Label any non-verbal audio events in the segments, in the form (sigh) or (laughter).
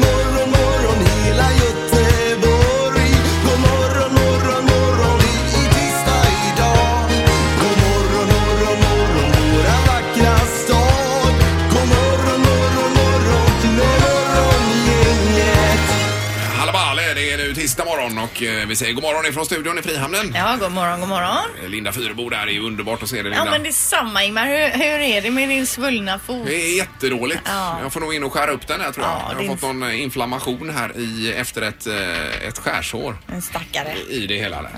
morgon, morgon hela Göteborg. God morgon, morgon, morgon i, i tisdag idag. God morgon, morgon, morgon våra vackra stad. God morgon, morgon, morgon, morgon gänget. Halabale, det är nu tisdag morgon och eh, vi säger god morgon ifrån studion i Frihamnen. Ja, god morgon, god morgon. Eh, Linda Fyrebo där, det är ju underbart att se dig Ja, Linda. men det är samma Ingmar. Hur, hur är det med din svullna fot? Det är jättedåligt. Ja. Jag får nog in och skära upp den här tror jag. Ja, jag har din- fått någon eh, inflammation här i, efter ett, eh, ett skärsår En stackare. i det hela. Där.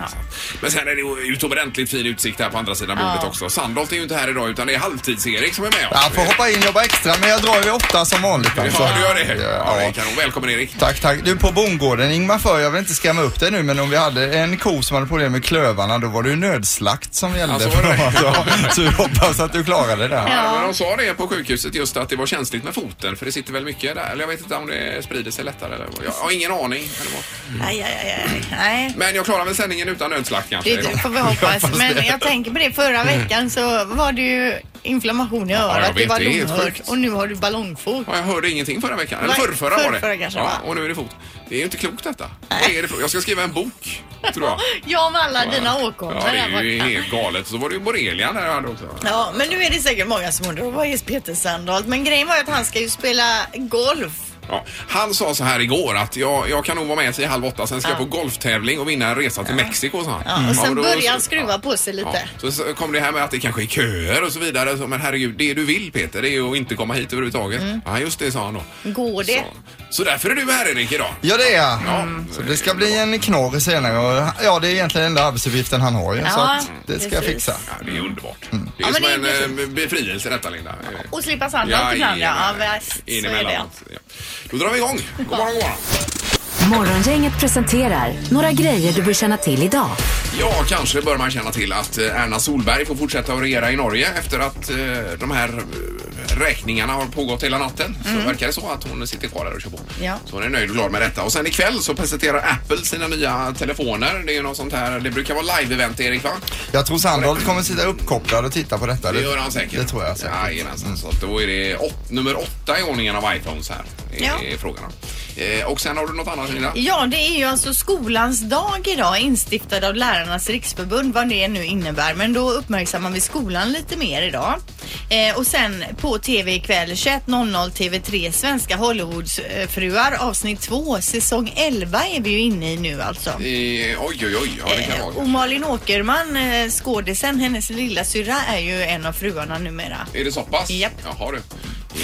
Men sen är det ju utomordentligt fin utsikt här på andra sidan bordet också. Sandholt är ju inte här idag utan det är halvtids-Erik som är med oss. Ja, får hoppa in och jobba extra, men jag drar vid åtta som vanligt. Alltså. Ja, du gör det. Ja, det är Ja. kanon. Välkommen Erik. Tack, tack. Du, på bondgården, Ingmar Föhr, jag vill inte skrämma upp dig nu, men om vi hade en ko som hade problem med klövarna, då var det ju nödslakt som gällde. Ja, så var det. (laughs) för dem, alltså. så vi hoppas att du klarade det. här. Ja. Men de sa det på sjukhuset just att det var känsligt med foten för det sitter väl mycket där. Eller jag vet inte om det sprider sig lättare. Eller, jag har ingen aning. Eller vad. Aj, aj, aj, aj. Nej. Men jag klarar väl sändningen utan nödslakt kanske. Det idag. får vi hoppas. Men jag tänker på det, förra veckan så var det ju inflammation i örat. Mm. jag det vet, var det är helt lomhört. sjukt. Och nu har du ballongfot. Ja, jag hörde ingenting förra veckan. Eller Nej, förrförra var det. förrförra kanske, ja, va? och nu är det fot. Det är ju inte klokt detta. Vad är det för? Jag ska skriva en bok, tror jag. Jag med alla (laughs) dina Ja, åkommor det är ju där borta. helt galet. Så var det ju borrelia där jag hade också. Ja, men nu är det säkert många som undrar vad är Peter Sandholt? Men grejen var ju att han ska ju spela golf. Ja, han sa så här igår att jag, jag kan nog vara med sig halv åtta, sen ska jag på golftävling och vinna en resa till Mexiko, sa han. Ja, och Mm, Ja, sen då- börjar han skruva på sig lite. Ja, så- så kom det här med att det kanske är köer och så vidare. Så, men herregud, det du vill Peter, det är ju att inte komma hit överhuvudtaget. Ja, just det sa han då. Går det? Så, så därför är du här Erik idag. Ja, det är jag. Ja. Så det ska bli en knorr senare. och- Ja, det är egentligen den enda arbetsuppgiften han har ju, så Ja, att det ska jag precis. fixa. Ja, det är underbart. Det Ja, är men som det är en precis. eh, befrielse detta Linda. Eh, Och slippa Sandholt ibland, ja. Ja, jajamän. visst, så är det. Inemellanåt, ja. Då drar vi igång. God morgon, god morgon. Morgongänget presenterar några grejer du bör känna till idag. Ja, kanske bör man känna till att eh, Erna Solberg får fortsätta att regera i Norge efter att eh, de här eh, räkningarna har pågått hela natten. Så verkar det så att hon sitter kvar där och kör på. Mm. Ja. Så hon är nöjd och glad med detta. Och sen ikväll så presenterar Apple sina nya telefoner. Det är ju något sånt här, det brukar vara live-event Erik va? Jag tror Sandholt kommer sitta uppkopplad och titta på detta. Det gör han säkert. Det tror jag säkert. Mm. Jajamensan. Så att då är det åt, nummer åtta i ordningen av iPhones här. Är, Ja. är frågan om. Eh, och sen har du något annat Linda? Ja, det är ju alltså skolans dag idag instiftad av Lärarnas riksförbund, vad det nu innebär. Men då uppmärksammar vi skolan lite mer idag. Eh, och sen på TV ikväll 21.00 TV3 Svenska Hollywoodfruar avsnitt 2 säsong 11 är vi ju inne i nu alltså. Eh, oj, oj, oj. Ja, det kan Eh, vara. Och Malin Åkerman, eh, skådisen, hennes lilla syra är ju en av fruarna numera. Är det så pass? Japp. Jaha du.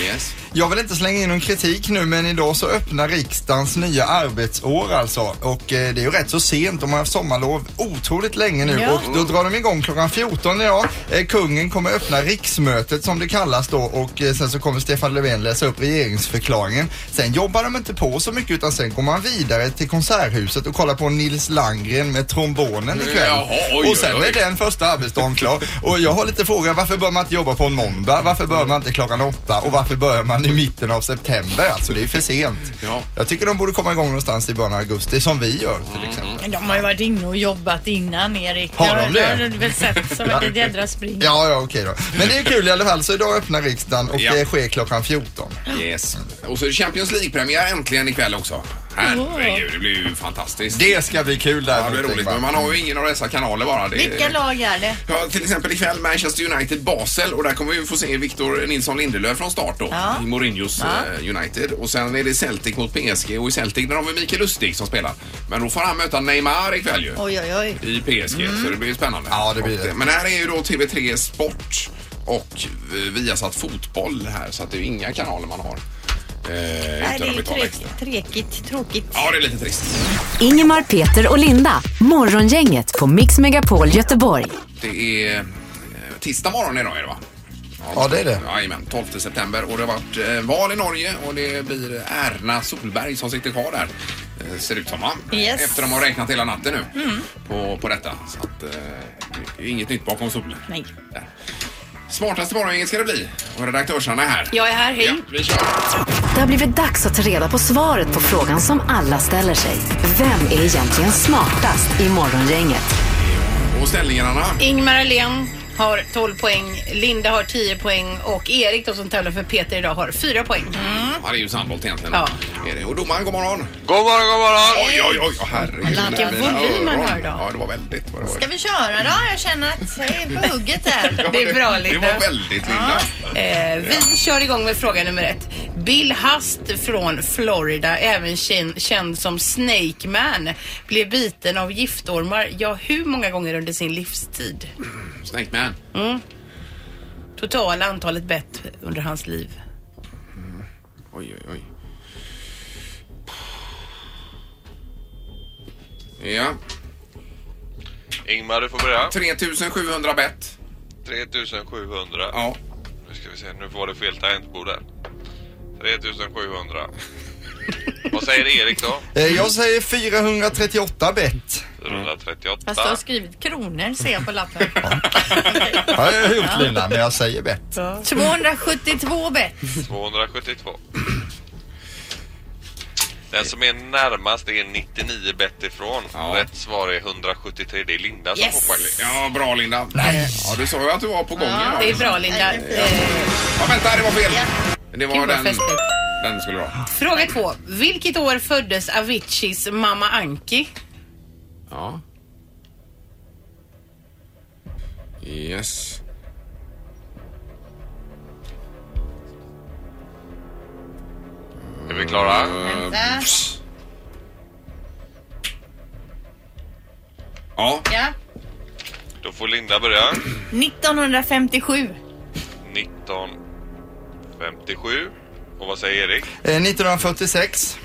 Yes. Jag vill inte slänga in någon kritik nu men idag så öppnar riksdagens nya arbetsår alltså och eh, det är ju rätt så sent. De har haft sommarlov otroligt länge nu Ja. och då drar de igång klockan 14 idag. Eh, kungen kommer öppna riksmötet som det kallas då och eh, sen så kommer Stefan Löfven läsa upp regeringsförklaringen. Sen jobbar de inte på så mycket utan sen går man vidare till Konserthuset och kollar på Nils Landgren med trombonen ikväll. Jaha, oj, och sen oj, oj. är det den första arbetsdagen klar. Och jag har lite frågor. Varför bör man inte jobba på en måndag? Varför bör man inte klockan åtta? Och varför börjar man i mitten av september? Alltså det är för sent. Ja. Jag tycker de borde komma igång någonstans i början av augusti som vi gör Mm. till exempel. Men De har ju varit inne och jobbat innan Erik. Mm. Har de det? har du väl sett som ett jädra spring. Ja, ja, okej då. Men det är kul i alla fall. Så idag öppnar riksdagen och Ja. det sker klockan 14. Yes. Och så är det Champions League-premiär äntligen ikväll också. Herregud, det blir ju fantastiskt. Det ska bli kul där. Ja, det är roligt, men man har ju ingen av dessa kanaler bara. Det, Vilka lag är det? Ja, till exempel ikväll Manchester United Basel och där kommer vi få se Victor Nilsson Lindelöf från start då Ja. i Mourinhos Ja. eh, United. Och sen är det Celtic mot PSG och i Celtic där har vi Mikael Lustig som spelar. Men då får han möta Neymar ikväll ju Oj, oj, oj. i PSG så det blir ju spännande. Mm. Ja, det blir och, det. eh, Men här är ju då TV3 Sport och eh, Viasat Fotboll här så att det är ju inga kanaler man har. Eh, Nej, det utan att är betala extra. tråkigt, tråkigt, tråkigt. Ja, det är lite trist. Ingemar, Peter och Linda. Morgongänget på Mix Megapol Göteborg. Det är eh, tisdag morgon idag är det va? Ja, det är det. Jajamän, 12 september och det har varit eh, val i Norge och det blir Erna Solberg som sitter kvar där. Eh, Ser ut som va? Yes. Mm. Efter de har räknat hela natten nu på, på detta. Så att, eh, det är inget nytt bakom solen. Nej. Där. Smartaste morgongänget ska det bli. Och redaktörsarna är här. Jag är här, hej. Ja, vi kör. Det har blivit dags att ta reda på svaret på frågan som alla ställer sig. Vem är egentligen smartast i Morgongänget? Och ställningen, Anna? Ingmar Ahlén har 12 poäng, Linda har 10 poäng och Erik då som tävlar för Peter idag har 4 poäng. Ja, det är ju sandbolt egentligen. Ja. Är det. Och domaren, god morgon. God morgon, god morgon! Oj, oj, oj, oh, herregud. Alla vilken Mina volym man öron. har idag. Ja, det var väldigt. Vad det var. Ska vi köra då? Jag känner att jag är på hugget här. (laughs) Ja, Det är bra, Det Linda. var väldigt, Linda. Eh, vi kör igång med fråga nummer ett. Bill Hast från Florida, även kä- känd som Snake Man, blev biten av giftormar, ja hur många gånger under sin livstid? Snake man. Totala antalet bett under hans liv. Oj, oj, oj. Ja, Ingmar, du får börja. 3700 bett. 3700. Ja. Nu ska vi se, nu var det fel tangentbord där. (laughs) 3700. Vad säger Erik Mm. då? Eh, Jag säger 438 bett. 438. Fast du har skrivit kronor ser jag (laughs) på lappen. Har jag gjort Linda, men jag säger bett. 272 bett. 272. Den som är närmast är 99 bett ifrån. Ja. Rätt svar är 173. Det är Linda som Yes. får poäng. Ja, bra Linda. Ja, du sa ju att du var på gång. Ja, det är bra Linda. Eh, Ja, vänta, det var fel. Det var Gud, vad den. festligt. Den skulle du ha. Fråga två. Vilket år föddes Aviciis mamma Anki? Ja. Yes. Är vi klara? Eh, pss. Ja, Ja. Då får Linda börja. 1957. 1957. Och vad säger Erik? Eh, 1946.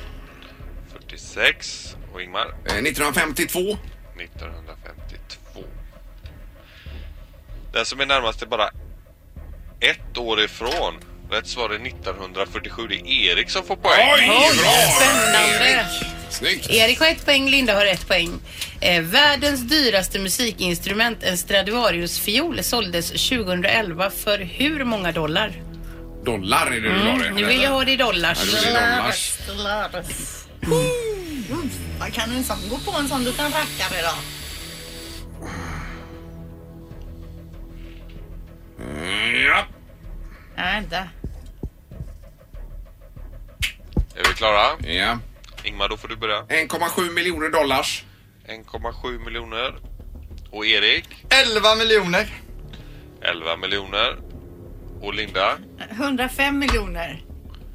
46. Och Ingmar? eh, 1952. 1952. Den som är närmast är bara ett år ifrån. Rätt svar är 1947. Det är Erik som får poäng. Oj, bra! Spännande. Snyggt. Erik har ett poäng, Linda har ett poäng. Eh, världens dyraste musikinstrument, en Stradivarius-fiol, såldes 2011 för hur många dollar? Dollar är det du la det. Mm, Nu vill jag ha det i dollar. Ja, det blir dollars. Vad kan en sån gå på en sån liten rackare idag? Mm, Ja. Nej, inte. Är vi klara? ja. Ingmar, då får du börja. 1,7 miljoner dollars. 1,7 miljoner. Och Erik? 11 miljoner. 11 miljoner. Och Linda? 105 miljoner.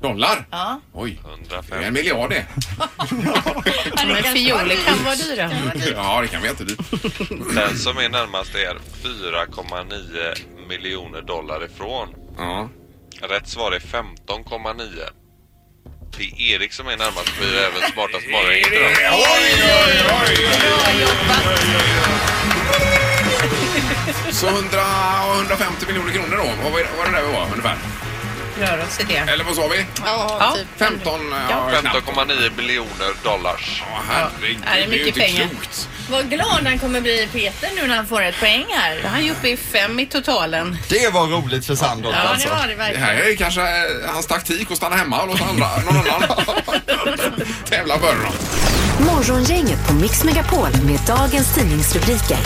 Dollar? Ja. Oj, det är 105. en miljard det. Men fioler kan vara dyra. Ja, det kan vi inte dit. Den som är närmast är 4,9 miljoner dollar ifrån. Ja. Rätt svar är 15,9. Det är Erik som är närmast blir även smartast morgongänget idag. Oj, oj, oj! Så 100, 150 miljoner kronor då? Vad var vad var det där vi var ungefär? Rör oss i det. Eller vad sa vi? Ja, 15? Ja, knappt. 15,9 miljoner dollars. Ja, herregud, Ja, det är det är ju mycket inte pengar. klokt. Vad glad han kommer bli Peter nu när han får ett poäng här. han är uppe i fem i totalen. Det var roligt för Sandholt Ja, det alltså. var det Det verkligen. här är kanske eh, hans taktik att stanna hemma och låta andra, någon annan (laughs) tävla före honom. Morgongänget på Mix Megapol med dagens tidningsrubriker.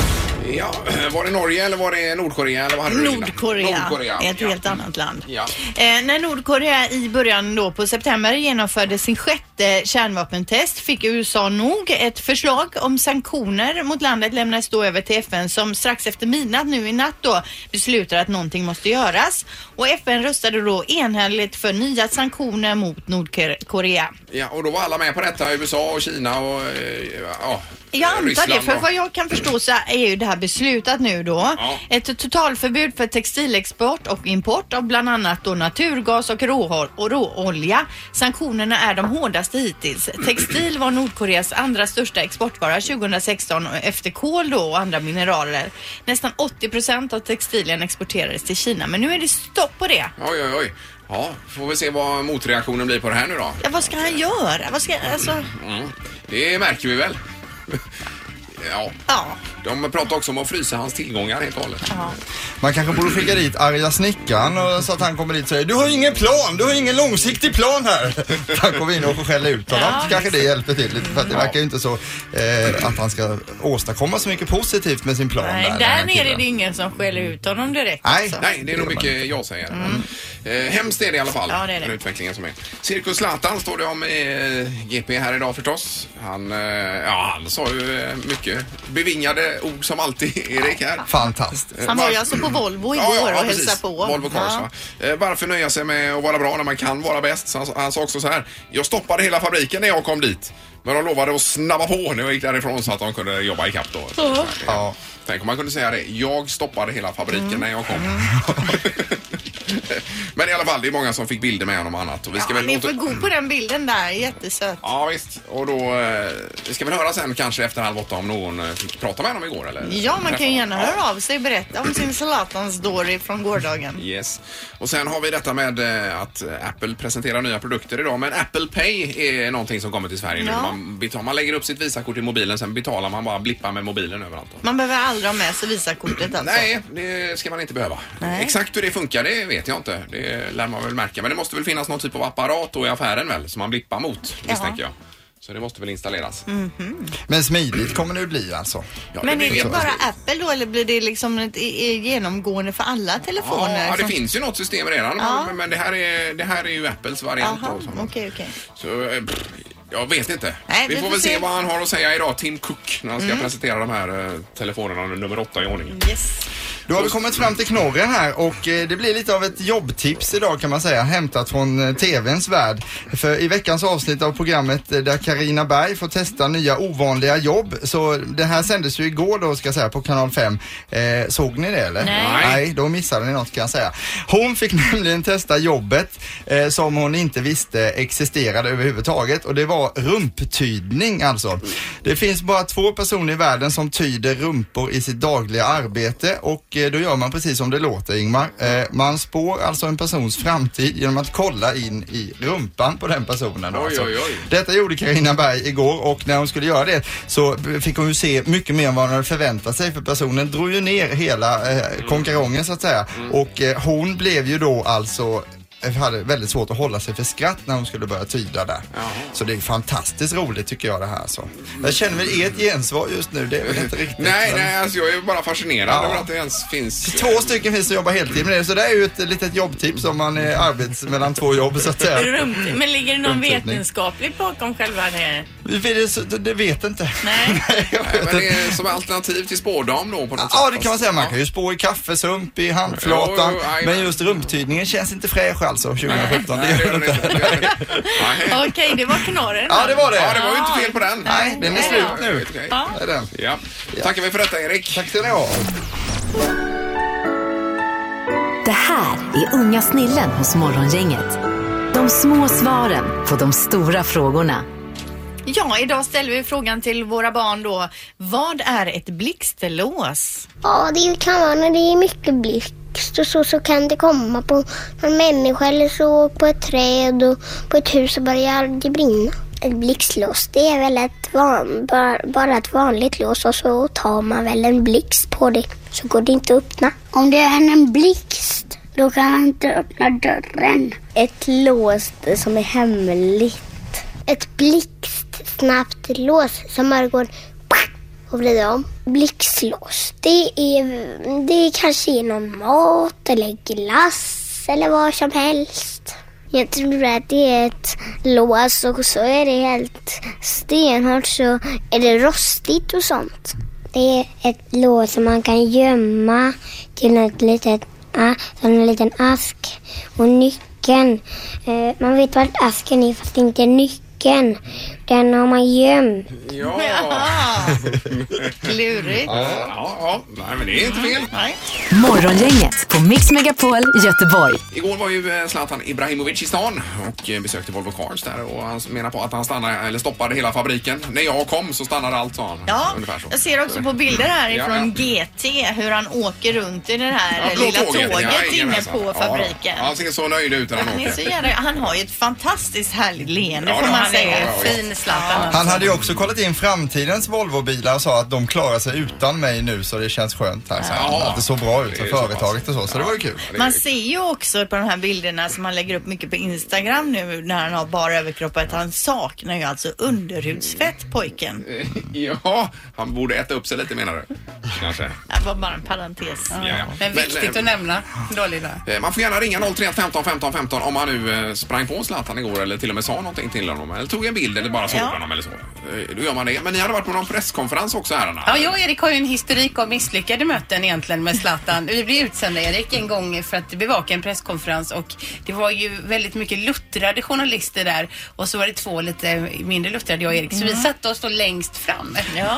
Ja, var det Norge eller var det Nordkorea? Eller vad hade du, Linda? Nordkorea, Nordkorea. är ett ja. helt annat land. Ja. Eh, när Nordkorea i början då på september genomförde sin sjätte kärnvapentest fick USA nog. Ett förslag om sanktioner mot landet lämnades då över till FN som strax efter midnatt nu i natt då beslutar att någonting måste göras. Och FN röstade då enhälligt för nya sanktioner mot Nordkorea. ja, och då var alla med på detta. USA och Kina och eh, ja, Jag antar Ryssland det, för och- vad jag kan förstå så är ju det här beslutat nu då. Ja. Ett totalförbud för textilexport och import av bland annat då naturgas och, råhol- och råolja. Sanktionerna är de hårdaste hittills. Textil var Nordkoreas andra största exportvara 2016 och efter kol då och andra mineraler. Nästan 80 procent av textilien exporterades till Kina, men nu är det stopp på det. Oj, oj, oj. Ja, får vi se vad motreaktionen blir på det här nu då. Mm. Ja, vad ska han göra? Vad ska, alltså... Det märker vi väl. (laughs) Ja. Ja. De pratar också om att frysa hans tillgångar helt och hållet. Man kanske borde skicka dit arga snickaren och så att han kommer dit och säger Du har ingen plan, du har ingen långsiktig plan här. (laughs) Han kommer in och skäller ut honom. Ja, kanske det hjälper till lite för att det verkar ju inte så eh, att han ska åstadkomma så mycket positivt med sin plan. Nej, där den där här nere är killen. det ingen som skäller ut honom direkt. Nej. alltså. Nej, det är nog mycket jag säger. Eh, hemskt är det i alla fall. Mm. Ja, det är det. Den utvecklingen som är. Cirkus Zlatan står det om i eh, GP här idag förstås. Han, eh, ja, han sa ju eh, mycket bevingade ord som alltid, (laughs) Erik här. Fantastiskt. Han var ju alltså på Volvo igår och precis. hälsade på. Volvo Cars, Ja. va? Eh, Varför nöja sig med att vara bra när man kan vara bäst? Så Han, han sa också så här. Jag stoppade hela fabriken när jag kom dit. Men de lovade att snabba på när jag gick därifrån så att de kunde jobba ikapp då. Så, Ja. Tänk om man kunde säga det. Jag stoppade hela fabriken Mm. när jag kom. (laughs) Men i alla fall, det är många som fick bilder med honom och annat. Och vi ska Ja, väl ni åter- får gå på den bilden där, jättesöt. Ja visst, och då eh, vi ska väl höra sen kanske efter halv åtta om någon eh, fick prata med honom igår eller? Ja, man träffa kan ju gärna honom. Ja. höra av sig och berätta om sin Zlatan-story från gårdagen. Yes. Och sen har vi detta med eh, att eh, Apple presenterar nya produkter idag. Men Apple Pay är någonting som kommer till Sverige nu. Ja. Man, betal, man lägger upp sitt Visakort i mobilen, sen betalar man bara blippar med mobilen överallt. då. Man behöver aldrig ha med sig Visakortet alltså. Nej, det ska man inte behöva. Nej. Exakt hur det funkar, det vet jag inte. Det lär man väl märka. Men det måste väl finnas någon typ av apparat då i affären väl, som man blippar mot, misstänker jag. Så det måste väl installeras. Men smidigt kommer det ju bli alltså. Ja, Mm. Men det är det vet man. bara Apple då eller blir det liksom ett, i- i- genomgående för alla telefoner? Ja, det som- finns ju något system redan. Ja. Men, men det, här är, det här är ju Apples variant. Jaha, då, som- okej, okej. Så, eh, pff, jag vet inte. Nej, vi vi får får väl se se. vad han har att säga idag, Tim Cook, när han ska presentera de här eh, telefonerna nummer åtta i ordningen. Yes. Då har vi kommit fram till knorren här och eh, det blir lite av ett jobbtips idag kan man säga, hämtat från eh, TVns värld. För i veckans avsnitt av programmet eh, där Karina Berg får testa nya ovanliga jobb, så det här sändes ju igår då ska jag säga på kanal 5. Eh, såg ni det eller? Nej. Nej, då missade ni något kan jag säga. Hon fick (laughs) nämligen testa jobbet eh, som hon inte visste existerade överhuvudtaget och det var rumptydning alltså. Det finns bara två personer i världen som tyder rumpor i sitt dagliga arbete och eh, då gör man precis som det låter Ingmar. Eh, man spår alltså en persons framtid genom att kolla in i rumpan på den personen. då, Oj, alltså. oj, oj. Detta gjorde Carina Berg igår och när hon skulle göra det så fick hon ju se mycket mer än vad hon hade förväntat sig för personen drog ju ner hela eh, konkarongen så att säga Mm. och eh, hon blev ju då alltså eh, hade väldigt svårt att hålla sig för skratt när hon skulle börja tyda där. Så det är fantastiskt roligt tycker jag det här så. Jag känner väl ert gensvar just nu, det är väl (laughs) inte riktigt. Nej, men- nej, alltså jag är bara fascinerad Ja. över att det ens finns... eh, Två stycken finns som jobbar heltid med det, så det är ju ett litet jobbtips om man är arbets mellan två jobb så att säga. (laughs) Rumt, men ligger det någon Rumtydning. vetenskaplig bakom själva det här? Vi- Det, så- det vet inte. (laughs) Nej. jag vet Nej, men det inte. är som alternativ till spårdam då på något Ja, sätt. det kan man säga. Man kan ju spå i kaffesump, i handflatan. Jo, jo, aj, men men- just rumptydningen känns inte fräsch alltså 2017. Det Nej, det gör gör den det inte. inte. Det gör det (laughs) inte. Nej. Okej, det var knorren. Ja, det var det. Ja, det var ju inte fel på den. Nej, den är slut nu. Okej. Det är den. Ja. Tackar vi för detta, Erik. Tack ska ni ha. Det här är Unga snillen hos Morgongänget. De små svaren på de stora frågorna. Ja, idag ställer vi frågan till våra barn då. Vad är ett blixtlås? Ja, det kan vara när det är mycket blixt och så, så kan det komma på en människa eller så, på ett träd och på ett hus och börjar det brinna. Ett blixtlås, det är väl ett van, bara, bara ett vanligt lås och så tar man väl en blixt på det så går det inte att öppna. Om det är en blixt, då kan man inte öppna dörren. Ett lås som är hemligt. Ett blixtsnabbt lås som bara går och vrida om. Blixtlås, det, är, det kanske är någon mat eller glass eller vad som helst. Jag tror att det är ett lås och så är det helt stenhårt så är det rostigt och sånt. Det är ett lås som man kan gömma till något litet, a- som en liten ask. Och nyckeln, eh, man vet vart asken är fast inte nyckeln. Den har man gömt. Ja. Ah, klurigt. Ja, ja. Nej, men det är inte fel. Nej. Morgongänget på Mix Megapol Göteborg. Igår var ju eh, Zlatan Ibrahimovic i stan och eh, besökte Volvo Cars där och han menar på att han stannade, eller stoppade hela fabriken. När jag kom så stannade allt, sa han. Ja, Ungefär så. jag ser också på bilder här Ja, ifrån GT hur han åker runt i det här blå lilla tåget, inne jajamensan. på Ja, fabriken. han ser så nöjd ut när han Han, är så åker. jävla, han har ju ett fantastiskt härligt leende Ja, får det man har han är fin Zlatan. Han hade ju också kollat in framtidens Volvo-bilar och sa att de klarar sig utan mig nu så det känns skönt här. Så att det såg bra ut för företaget och så, så det var ju kul. Man ser ju också på de här bilderna som han lägger upp mycket på Instagram nu när han har bara överkropp att han saknar ju alltså underhudsfett pojken. (laughs) Ja, han borde äta upp sig lite menar du? Kanske. Det var bara en parentes. Ja, ja. Men viktigt att nämna. Då lilla. Eh, Man får gärna ringa 031 15 15 15 om man nu eh, sprang på Zlatan igår eller till och med sa någonting till honom eller tog en bild eller bara såg Ja. honom eller så. Eh, Då gör man det. Men ni hade varit på någon presskonferens också herrarna? Ja, jag och Erik har ju en historik av misslyckade möten egentligen med Zlatan. Vi blev utsända, Erik, en gång för att bevaka en presskonferens och det var ju väldigt mycket luttrade journalister där och så var det två lite mindre luttrade, jag och Erik. Så vi Mm. satte oss då längst fram.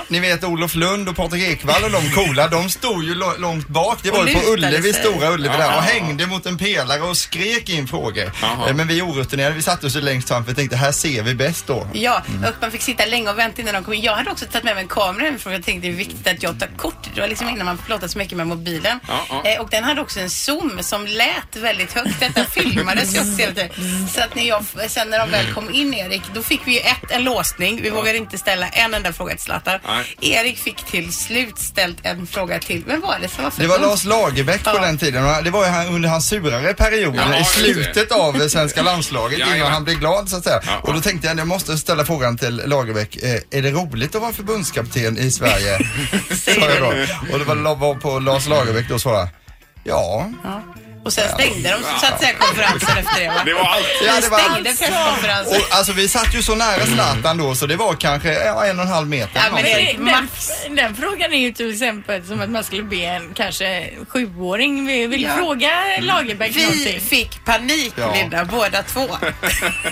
Ni vet Olof Lund och Patrik Ekwall och de coola, de stod ju lo- långt bak. Det Och var ju på lutade Ullevi, sig. stora Ullevi Ja. där och hängde mot en pelare och skrek in frågor. Eh, Men vi orutinerade, vi satte oss ju längst fram för vi tänkte här ser vi bäst då. Ja, och man fick sitta länge och vänta innan de kom in. Jag hade också tagit med mig en kamera hemifrån för jag tänkte det är viktigt att jag tar kort. Det var liksom innan man plåtar så mycket med mobilen. Ja, ja. Eh, och den hade också en zoom som lät väldigt (laughs) högt. Detta filmades ju också hela tiden. Så att när jag, sen när de väl kom in Erik, då fick vi ju ett, en låsning. Vi vågade inte ställa en enda fråga till Zlatan. Nej. Erik fick till slut ställt en fråga till. Vem var det som var för Det var dum? Lars Lagerbäck på den tiden. och Det var ju han- under hans surare perioder Ja, i just det. slutet av svenska landslaget Jajamän. innan han blev glad så att säga. Och då tänkte jag, jag måste ställa frågan till Lagerbäck. eh, Är det roligt att vara förbundskapten (laughs) i Sverige? Sa jag då. Och det var la- var på Lars Lagerbäck då svarade, ja. Och sen stängde de så att säga konferensen efter det va? Det var allt. Vi Ja, det var allt. stängde presskonferensen. Och, alltså vi satt ju så nära Mm. Zlatan då så det var kanske ja, en och en halv meter. Ja, men någonting. det, den, den frågan är ju till exempel som att man skulle be en kanske sjuåring vill, vill Ja. fråga Mm. Lagerbäck Vi någonting. fick panik Ja. Linda, båda två.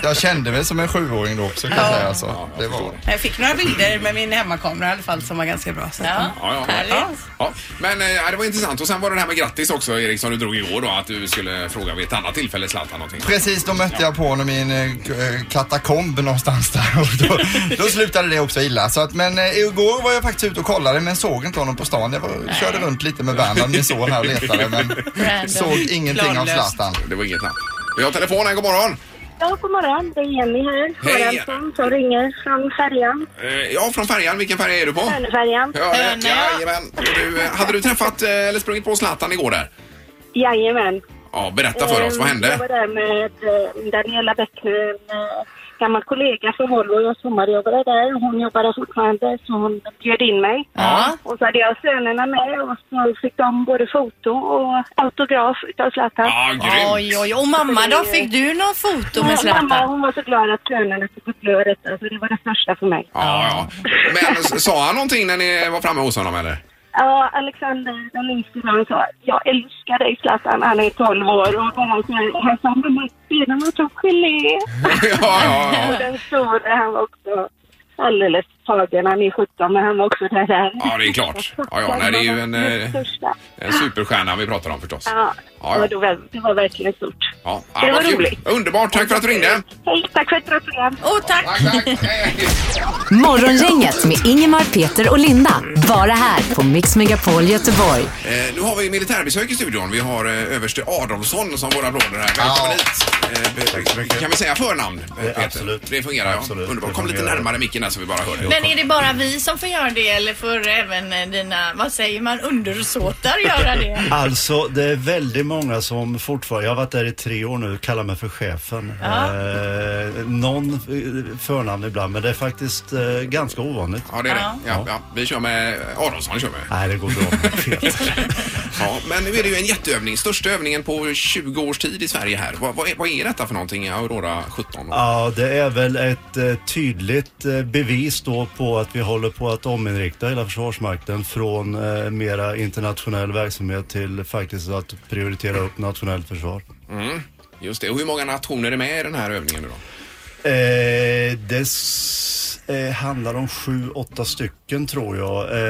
Jag kände mig som en sjuåring då också kan jag Ja. säga. Alltså. Det var... Jag fick några bilder med min hemmakamera i alla fall som var ganska bra. Så ja. Ja, ja, Härligt. ja. ja. Men eh, ja, det var intressant. Och sen var det det här med grattis också Erik som du drog igår då att du skulle fråga vid ett annat tillfälle Zlatan någonting. Precis, då mötte jag på honom i en eh, k- eh, katakomb någonstans där (laughs) och då, då slutade det också illa. Så att, men eh, igår var jag faktiskt ute och kollade men såg inte honom på stan. Jag var, körde runt lite med Bernhard, min son här och letade men Random. såg ingenting av Planlöst. Zlatan. Det var inget napp. Vi har telefon här, god morgon. Ja, god morgon. Det är Jenny här. Hej, Lorentzon som ringer från färjan. Eh, Ja, från färjan. Vilken färg är du på? Hönöfärjan. Ja, det, jajamän. Du, eh, hade du träffat eh, eller sprungit på Zlatan igår där? Jajamän. Ja, berätta för oss. Ehm, Vad Jag Mm. hände? var där med eh, Daniela Bäckner, en eh, gammal kollega från Volvo. Jag sommarjobbade där. Hon jobbade fortfarande, så hon bjöd in mig. Ja. Och så hade jag sönerna med och så fick de både foto och autograf utav Zlatan. Oj, oj, och mamma då? Fick du någon foto med Ja, Mamma, Zlatan? hon var så glad att sönerna fick uppleva detta, så alltså, det var det största för mig. Ja, ja. Men s- sa han någonting när ni var framme hos honom eller? (laughs) Ja, Alexander, den yngste, han sa jag älskar dig Zlatan, han är 12 år och han sa, han sa mamma, sedan var som gelé. ja, ja. Och den store, han var också alldeles tagen, han är 17, men han var också där. där. Ja, det är klart. Ja, ja, nej, det är ju en, eh, Största. en superstjärna vi pratar om förstås. Ja, Ja, ja. och det var, det var verkligen stort. Ja, Det vad var kul. roligt. Underbart, tack för att du ringde. Hej, tack för ett bra program. Åh, Oh, tack! Morgongänget med Ingemar, Peter och Linda. Bara här på Mix Megapol Göteborg. Eh, nu har vi militärbesök i studion. Vi har eh, överste Adolfsson som vår applåder här. Välkommen hit. Eh, be- kan vi säga förnamn? eh, Peter? absolut. Det fungerar, ja. Underbart. Kom lite fungerar. närmare micken där så vi bara hör dig. Men är det bara vi som får göra det eller får även eh, dina, vad säger man, undersåtar göra det? Alltså, det är väldigt många som fortfarande, jag har varit där i tre år nu, kallar mig för chefen. Ja. Eh, någon eh, förnamn ibland, men det är faktiskt eh, ganska ovanligt. Ja, det är det. Ja, ja. Vi kör med Aronsson. Kör med. Nej, det går bra. (laughs) Ja, men nu är det ju en jätteövning. Största övningen på 20 års tid i Sverige här. Vad, vad, är, vad är detta för någonting, Aurora 17? Ja, det är väl ett eh, tydligt eh, bevis då på att vi håller på att ominrikta hela Försvarsmakten från eh, mera internationell verksamhet till faktiskt att prioritera upp nationellt försvar. Mm, just det. Och hur många nationer är med i den här övningen nu då? Eh, det s- eh, handlar om sju, åtta stycken tror jag. Eh,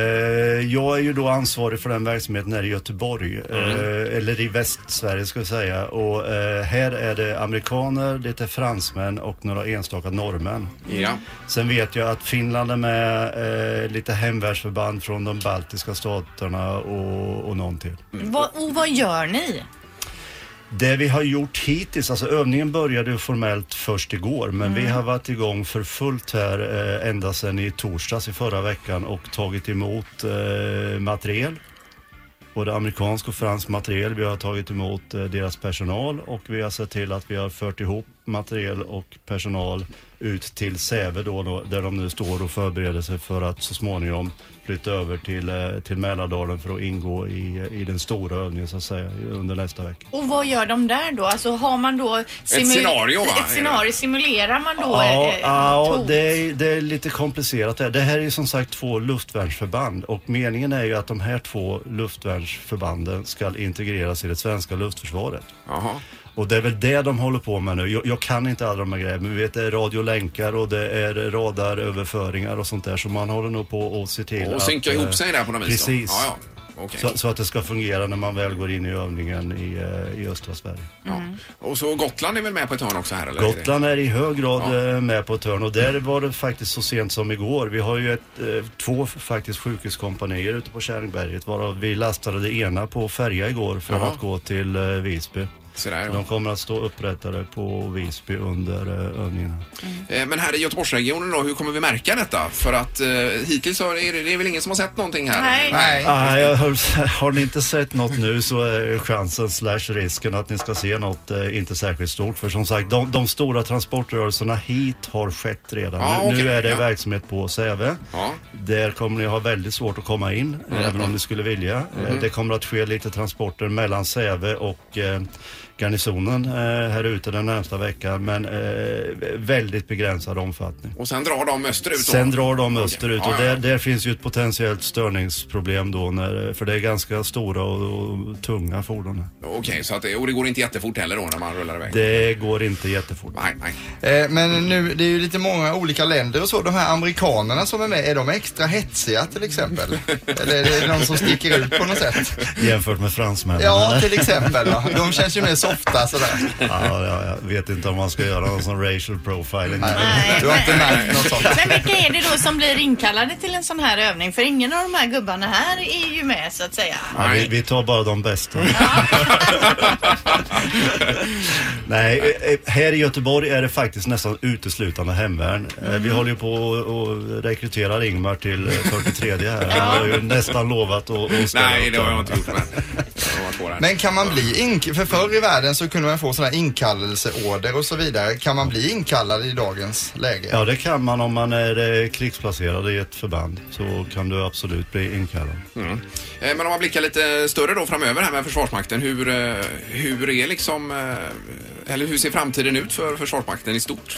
jag är ju då ansvarig för den verksamheten här i Göteborg, eh, eller i Västsverige ska jag säga. Och eh, här är det amerikaner, det är fransmän och några enstaka norrmän. Ja. Sen vet jag att Finland är med, eh, lite hemvärnsförband från de baltiska staterna och, och någon till. Vad, och vad gör ni? Det vi har gjort hittills, alltså övningen började ju formellt först igår men Mm. vi har varit igång för fullt här eh, ända sedan i torsdags i förra veckan och tagit emot eh, materiel. Både amerikansk och fransk materiel. Vi har tagit emot eh, deras personal och vi har sett till att vi har fört ihop materiel och personal ut till Säve då, då där de nu står och förbereder sig för att så småningom flytta över till, eh, till Mälardalen för att ingå i, i den stora övningen så att säga under nästa vecka. Och vad gör de där då? Alltså har man då... simu- scenario, va? Ett scenario, simulerar man då? Ja, eh, ja hot? det, är, det är lite komplicerat. Det här, det här är ju som sagt två luftvärnsförband och meningen är ju att de här två luftvärnsförbanden ska integreras i det svenska luftförsvaret. Och det är väl det de håller på med nu. Jag, jag kan inte alla de här grejerna, men vi vet det är radiolänkar och det är radaröverföringar och sånt där. Så man håller nog på att se till Och att... synka ihop eh, sig där på något vis då? Precis. Ja, ja. Okej. Så, så att det ska fungera när man väl går in i övningen i, eh, i östra Sverige. Och så Gotland är väl med på ett hörn också här eller? Gotland är i hög grad eh, med på ett hörn och där var det faktiskt så sent som igår. Vi har ju ett, eh, två f- faktiskt sjukhuskompanier ute på Käringberget varav vi lastade det ena på färja igår för Jaha. att gå till eh, Visby. De kommer att stå upprättade på Visby under eh, övningarna. Eh, Men här i Göteborgsregionen då, hur kommer vi märka detta? För att eh, hittills har, är det, det är väl ingen som har sett någonting här? Nej. Ah, jag har, har ni inte sett något nu så är chansen slash risken att ni ska se något eh, inte särskilt stort. För som sagt, de, de stora transportrörelserna hit har skett redan. Ja, nu, nu okej, är det ja. verksamhet på Säve. Ja. Mm. Där kommer ni ha väldigt svårt att komma in, eh, Mhm. även om ni skulle vilja. Eh, Mhm. Det kommer att ske lite transporter mellan Säve och eh, garnisonen eh, här ute den närmsta veckan, men eh, väldigt begränsad omfattning. Och sen drar de österut då? Sen drar de österut Ja, och ja, ja. där, där finns ju ett potentiellt störningsproblem då när, för det är ganska stora och, och tunga fordon. här. Okej, så att, det- och det går inte jättefort heller då när man rullar iväg? Det går inte jättefort. Nej, nej. Eh, Men nu, det är ju lite många olika länder och så. De här amerikanerna som är med, är de extra hetsiga till exempel? Eller är det någon som sticker ut på något sätt? Jämfört med fransmännen. Ja, eller? till exempel. Va? De känns ju mer softa sådär. Ja, ja, jag vet inte om man ska göra någon sån racial profiling. Nej. Du har inte märkt något sånt. Men vilka är det då som blir inkallade till en sån här övning? För ingen av de här gubbarna här är ju med så att säga. Ja, vi, vi tar bara de bästa. Nej, eh, eh, här i Göteborg är det faktiskt nästan uteslutande hemvärn. Eh, Vi håller ju på och- och rekryterar Ingmar till eh, 43 här. Han har ju nästan lovat att att ställa Nej, upp det har där. jag inte gjort. Men, (laughs) jag har varit på det här. Men kan man bli inkallad? För förr i världen så kunde man få sådana inkallelseorder och så vidare. Kan man bli inkallad i dagens läge? Ja, det kan man om man är eh, krigsplacerad i ett förband. Så kan du absolut bli inkallad. Eh, Men om man blickar lite större då framöver här med Försvarsmakten. Hur, eh, hur är liksom, eh, eller hur ser framtiden ut för Försvarsmakten i stort?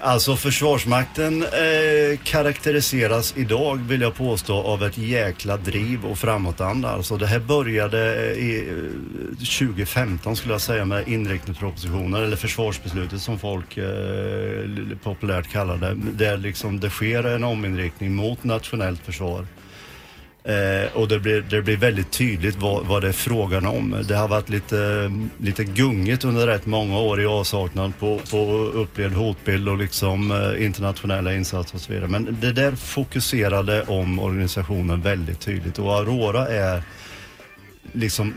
Alltså Försvarsmakten eh, karaktäriseras idag, vill jag påstå, av ett jäkla driv och framåtanda. Alltså det här började eh, i, eh, 2015 skulle jag säga med inriktningspropositionen eller försvarsbeslutet som folk eh, l- populärt kallar det. Där liksom det sker en ominriktning mot nationellt försvar. Eh, och det blir, det blir väldigt tydligt vad, vad det är frågan om. Det har varit lite, lite gungigt under rätt många år i avsaknad på, på upplevd hotbild och liksom eh, internationella insatser och så vidare. Men det där fokuserade om organisationen väldigt tydligt och Aurora är liksom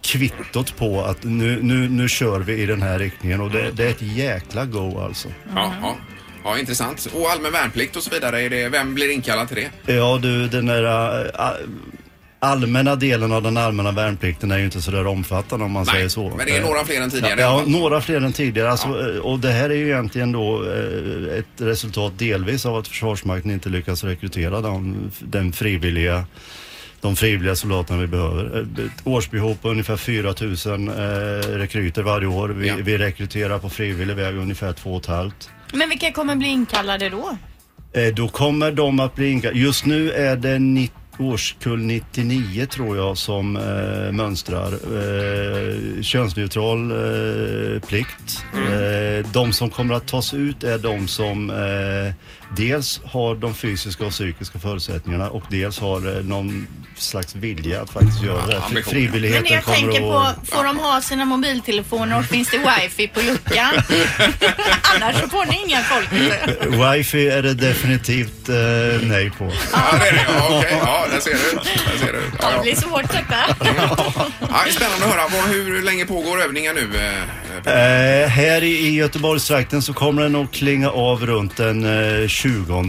kvittot på att nu, nu, nu kör vi i den här riktningen och det, det är ett jäkla go alltså. Ja, ja. ja, intressant. Och allmän värnplikt och så vidare, är det, vem blir inkallad till det? Ja du, den där eh, a- allmänna delen av den allmänna värnplikten är ju inte så där omfattande om man Nej, säger så. Eh, men det är några fler än tidigare. Ja, ja några fler än tidigare. Alltså, eh, Och det här är ju egentligen då eh, ett resultat delvis av att Försvarsmakten inte lyckas rekrytera den, den frivilliga de frivilliga soldaterna vi behöver. Eh, Ett årsbehov på ungefär 4 000 eh, rekryter varje år. Vi, vi rekryterar på frivillig väg ungefär 2 500. Men vilka kommer bli inkallade då? Eh, Då kommer de att bli inkallade. Just nu är det ni- årskull 99 tror jag som eh, mönstrar. Eh, könsneutral eh, plikt. Eh, de som kommer att tas ut är de som eh, dels har de fysiska och psykiska förutsättningarna och dels har eh, någon slags vilja att faktiskt göra det. här. ambition. Frivilligheten Men det jag kommer tänker på, att... får de ha sina mobiltelefoner och finns det wifi på (laughs) luckan? Annars så får ni inga folk. Wifi är det definitivt eh, nej på. Ja, det är det. Ja, okej. Ja, där ser du. Där ser du. Ja, Det ja. blir svårt detta. Ja, det är spännande att höra. Vad- Hur länge pågår övningen nu? eh, Eh, här i, i Göteborgstrakten så kommer den att klinga av runt den eh, 20 eh,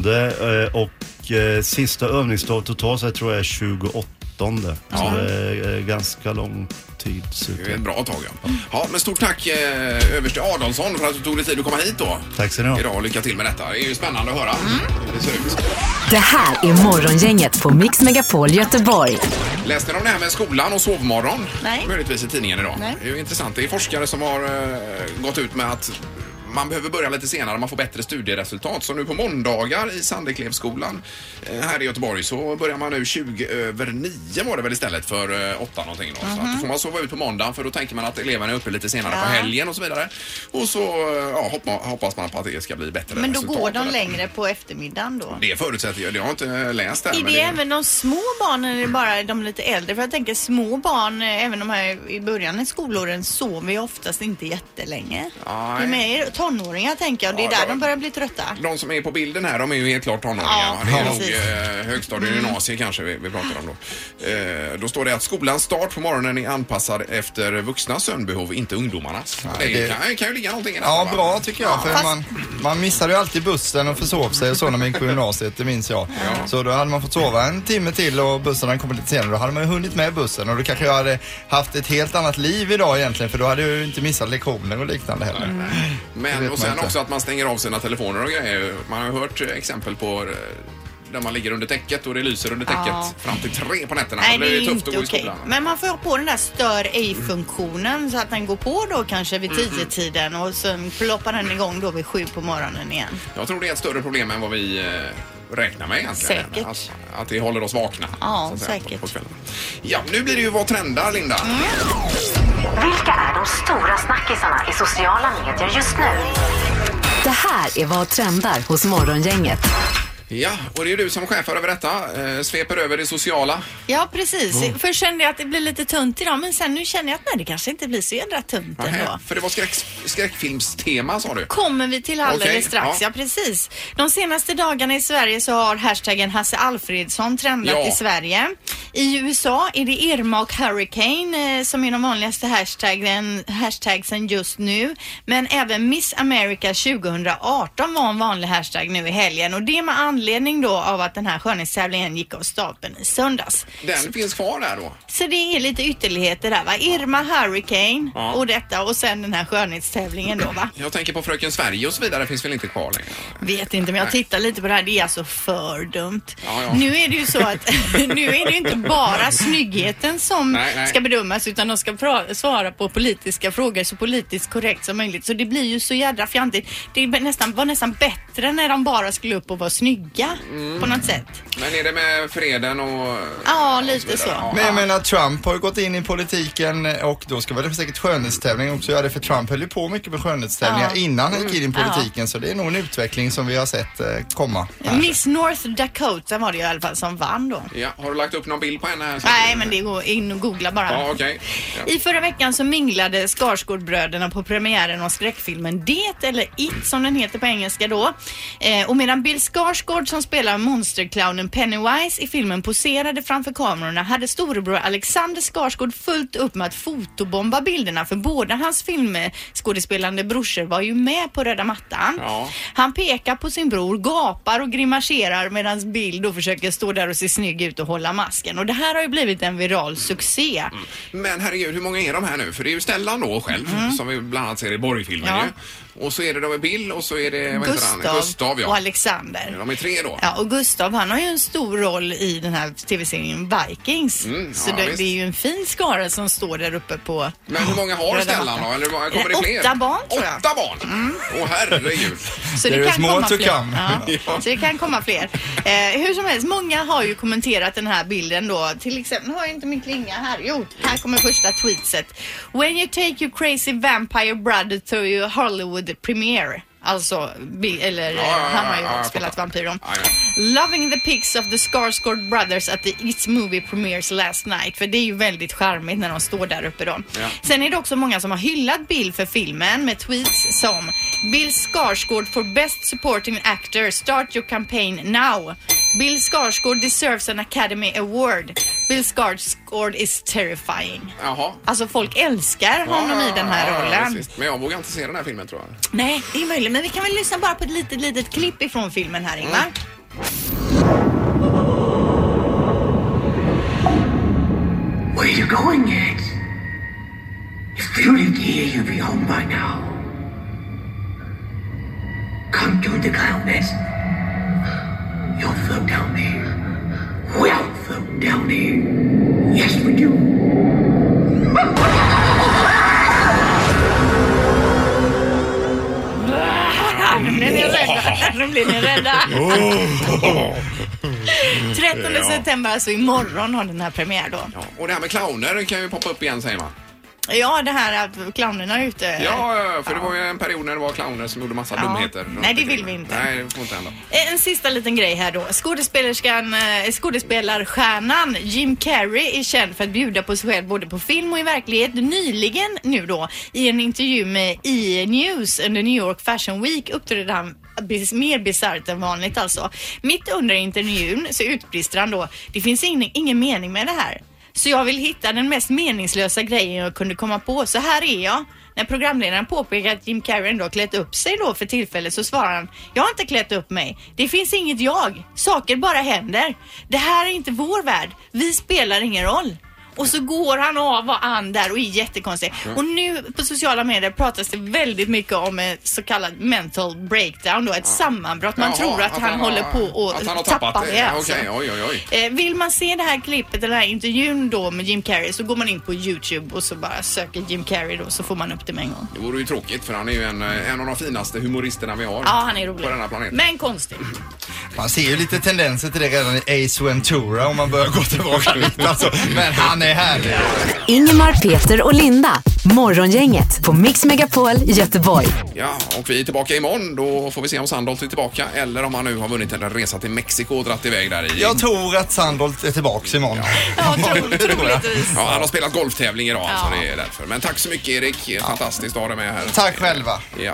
och eh, sista övningsdag totalt så tror jag är 28. Så Ja. det är eh, ganska lång tid. Så Det är ett bra tag, ja. ja men stort tack, eh, överste Adolfsson, för att du tog dig tid att komma hit då. Tack ska ni ha. Idag och lycka till med detta. Det är ju spännande att höra hur det ser ut. Det här är Morgongänget på Mix Megapol Göteborg. Läste ni om det här med skolan och sovmorgon? Nej. Möjligtvis i tidningen idag. Nej. Det är ju intressant. Det är forskare som har eh, gått ut med att man behöver börja lite senare, man får bättre studieresultat. Så nu på måndagar i Sandeklevskolan eh, här i Göteborg så börjar man nu 20 över 9 var det väl istället för eh, 8 någonting. Då. Så att då får man sova ut på måndagen för då tänker man att eleverna är uppe lite senare på Mhm. Ja. helgen och så vidare. Och så eh, ja, hoppa- hoppas man på att det ska bli bättre Men då resultat. går de längre på eftermiddagen då? Det förutsätter jag, det har jag inte läst än. Är men det även de små barnen eller bara de lite äldre? För jag tänker små barn, eh, även de här i början i skolåren, sover ju oftast inte jättelänge. Nej. Det är mer tonåringar tänker jag. Det är Ja, där de- de börjar bli trötta. De som är på bilden här, de är ju helt klart tonåringar. Ja, det är nog precis. Mm. eh, högstadie och gymnasie kanske vi, vi pratar om då. Eh, då står det att skolans start på morgonen är anpassad efter vuxnas sömnbehov, inte ungdomarnas. det det- kan, kan ju ligga någonting i detta, Ja, va? bra tycker jag. För Fast- man, man missade ju alltid bussen och försov sig och så när man gick på gymnasiet, det minns jag. Så då hade man fått sova en timme till och bussen hade kommit lite senare. Då hade man ju hunnit med bussen och då kanske jag hade haft ett helt annat liv idag egentligen för då hade jag ju inte missat lektioner och liknande heller. Det Men vet och man sen inte. också att man stänger av sina telefoner och grejer. Man har ju hört eh, exempel på eh, där man ligger under täcket och det lyser under täcket Ja. fram till tre på nätterna. Nej, Då det blir är ju tufft inte att gå i okej. skolan. Men man får ha på den där stör ej-funktionen så att den går på då kanske vid tiden och sen ploppar den igång då vid sju på morgonen igen. Jag tror det är ett större problem än vad vi eh, räknar med egentligen. Säkert. Att, att det håller oss vakna. Ja, så att säga, säkert. På, på kvällen. ja, nu blir det ju Vad trendar, Linda? Vilka är de stora snackisarna i sociala medier just nu? Det här är Vad trendar hos Morgongänget. Ja, och det är du som chefar över detta. Eh, sveper över det sociala. Ja, precis. Mm. Först kände jag att det blev lite tunt idag men sen nu känner jag att nej, det kanske inte blir så jädra tunt Nähä, ändå. För det var skräck, skräckfilmstema sa du. Kommer vi till alldeles Okej, strax, ja. ja. precis. De senaste dagarna i Sverige så har hashtaggen Hasse Alfredsson trendat Ja. i Sverige. I USA är det Irma och Hurricane eh, som är de vanligaste hashtaggen, hashtagsen just nu. Men även Miss America 2018 var en vanlig hashtag nu i helgen och det med anledning då av att den här skönhetstävlingen gick av stapeln i söndags. Den finns kvar där då. Så det är lite ytterligheter där va? Irma, Hurricane Ja. och detta och sen den här skönhetstävlingen då va? Jag tänker på Fröken Sverige och så vidare finns väl inte kvar längre? Vet inte, men jag tittar lite på det här. Det är alltså för dumt. Ja, ja. Nu är det ju så att (laughs) nu är det ju inte bara snyggheten som Nej, nej. ska bedömas utan de ska pra- svara på politiska frågor så politiskt korrekt som möjligt. Så det blir ju så jädra fjantigt. Det är nästan, var nästan bättre när de bara skulle upp och vara snygga på något sätt. Men är det med freden och... Ja, lite så. Men jag menar Trump har ju gått in i politiken och då ska väl säkert skönhetstävling också göra det för Trump höll ju på mycket med skönhetstävlingar Ja. Mm. innan han gick in i Ja. politiken så det är nog en utveckling som vi har sett eh, komma. Miss North Dakota var det ju i alla fall som vann då. Ja, har du lagt upp någon bild på henne? Här? Nej, men det går in och googla bara. Ja, okej. Ja. I förra veckan så minglade Skarsgårdbröderna på premiären av skräckfilmen Det, eller It som den heter på engelska då. Eh, och medan Bill Skarsgård som spelar monsterclownen Pennywise i filmen poserade framför kamerorna hade storebror Alexander Skarsgård fullt upp med att fotobomba bilderna för båda hans filmskådespelande brorsor var ju med på röda mattan. Han pekar på sin bror, gapar och grimaserar medan Bill då försöker stå där och se snygg ut och hålla masken. Och det här har ju blivit en viral succé. Men herregud, hur många är de här nu? För det är ju Stellan då själv, som vi bland annat ser i Borgfilmen Mm. Ja. ju. Och så är det då med Bill och så är det vad heter Gustav, han? Gustav ja. och Alexander. De är tre då. Ja, och Gustav han har ju en stor roll i den här tv-serien Vikings. så Mm, ja, det, visst. det är ju en fin skara som står där uppe på Men hur många har röda Stellan mattan. då? Eller hur många- kommer det Eh, fler? Åtta barn tror jag. Mm. Åtta barn? Åh herregud. Så det kan komma fler. (laughs) Ja. Så det kan komma fler. Eh, hur som helst, många har ju kommenterat den här bilden då. Till exempel, nu har jag inte min klinga här. Jo, här kommer första tweetset. When you take your crazy vampire brother to your Hollywood premiere. Alltså, Bi- eller Ja, ja, ja, han har ju ja, jag spelat vampyr då. Ah, ja. Loving the pics of the Skarsgård brothers at the It's movie premieres last night. För det är ju väldigt charmigt när de står där uppe då. Ja. Sen är det också många som har hyllat Bill för filmen med tweets som Bill Skarsgård for best supporting actor, start your campaign now. Bill Skarsgård deserves an Academy Award. Bill Skarsgård is terrifying. Jaha. Alltså folk älskar Ja, honom i den här ja, ja, rollen. Ah, visst, visst. Men jag vågar inte se den här filmen tror jag. Nej, det är möjligt. Men vi kan väl lyssna bara på ett litet, litet klipp ifrån filmen här, Ingmar. Mm. Where are you going yet? If you lived here, you'd be home by now. Come to the cloud nest. You'll float down there. We'll float down there. Yes, we do. Nu blir ni rädda. Nu blir ni rädda. 13 Ja. september, alltså imorgon, har den här premiär då. Och det här med clowner kan ju poppa upp igen säger man. Ja, det här att clownerna är ute. Ja, ja, för det var ju en period när det var clowner som gjorde massa Eh, Ja. dumheter. Nej, det vill vi inte. Nej, det får inte hända. Eh, En sista liten grej här då. Skådespelerskan, eh, skådespelarstjärnan Jim Carrey är känd för att bjuda på sig själv både på film och i verklighet. Nyligen nu då i en intervju med E-news under New York Fashion Week uppträdde han bis- mer bisarrt än vanligt alltså. Mitt under intervjun så utbrister han då, det finns ingen, ingen mening med det här. Så jag vill hitta den mest meningslösa grejen jag kunde komma på. Så här är jag. När programledaren påpekar att Jim Carrey ändå har klätt upp sig då för tillfället så svarar han Jag har inte klätt upp mig. Det finns inget jag. Saker bara händer. Det här är inte vår värld. Vi spelar ingen roll. Och så går han av och an där och är jättekonstig. Mm. Och nu på sociala medier pratas det väldigt mycket om ett så kallat mental breakdown då, ett sammanbrott. Man Jaha, tror att, han, har- håller på att han har att tappat tappa det. alltså. Okej, oj, oj, oj. Eh, vill man se det här klippet, eller den här intervjun då med Jim Carrey så går man in på Youtube och så bara söker Jim Carrey då så får man upp det med en gång. Det vore ju tråkigt för han är ju en, eh, en av de finaste humoristerna vi har. Ja, han är rolig. På den här planeten. Men konstig. Man ser ju lite tendenser till det redan i Ace Ventura om man börjar gå tillbaka (laughs) lite alltså. Men han är härlig. Ingemar, Peter och Linda. Morgongänget på Mix Megapol Göteborg. Ja, och vi är tillbaka imorgon. Då får vi se om Sandholt är tillbaka eller om han nu har vunnit en resa till Mexiko och dratt iväg där i. Jag tror att Sandholt är tillbaka imorgon. Ja, han har spelat golftävling idag, alltså det är därför. Men tack så mycket Erik, fantastiskt att ha dig med här. Tack själva. Ja.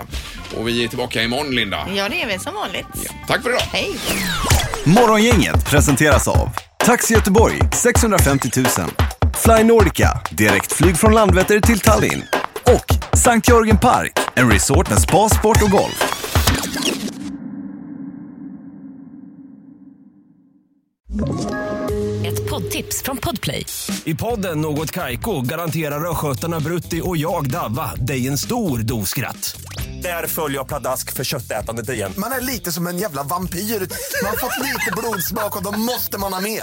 Och vi är tillbaka imorgon Linda. Ja, det är väl som vanligt. Tack för idag. Hej. Morgongänget presenteras av Taxi Göteborg 650 000 Fly Nordica, direktflyg från Landvetter till Tallinn och Sankt Jörgen Park, en resort med spa, sport och golf. Ett poddtips från Podplay. I podden Något Kaiko garanterar östgötarna Brutti och jag, Davva, dig en stor dos skratt. Där följer jag pladask för köttätandet igen. Man är lite som en jävla vampyr. Man har fått lite blodsmak och då måste man ha mer.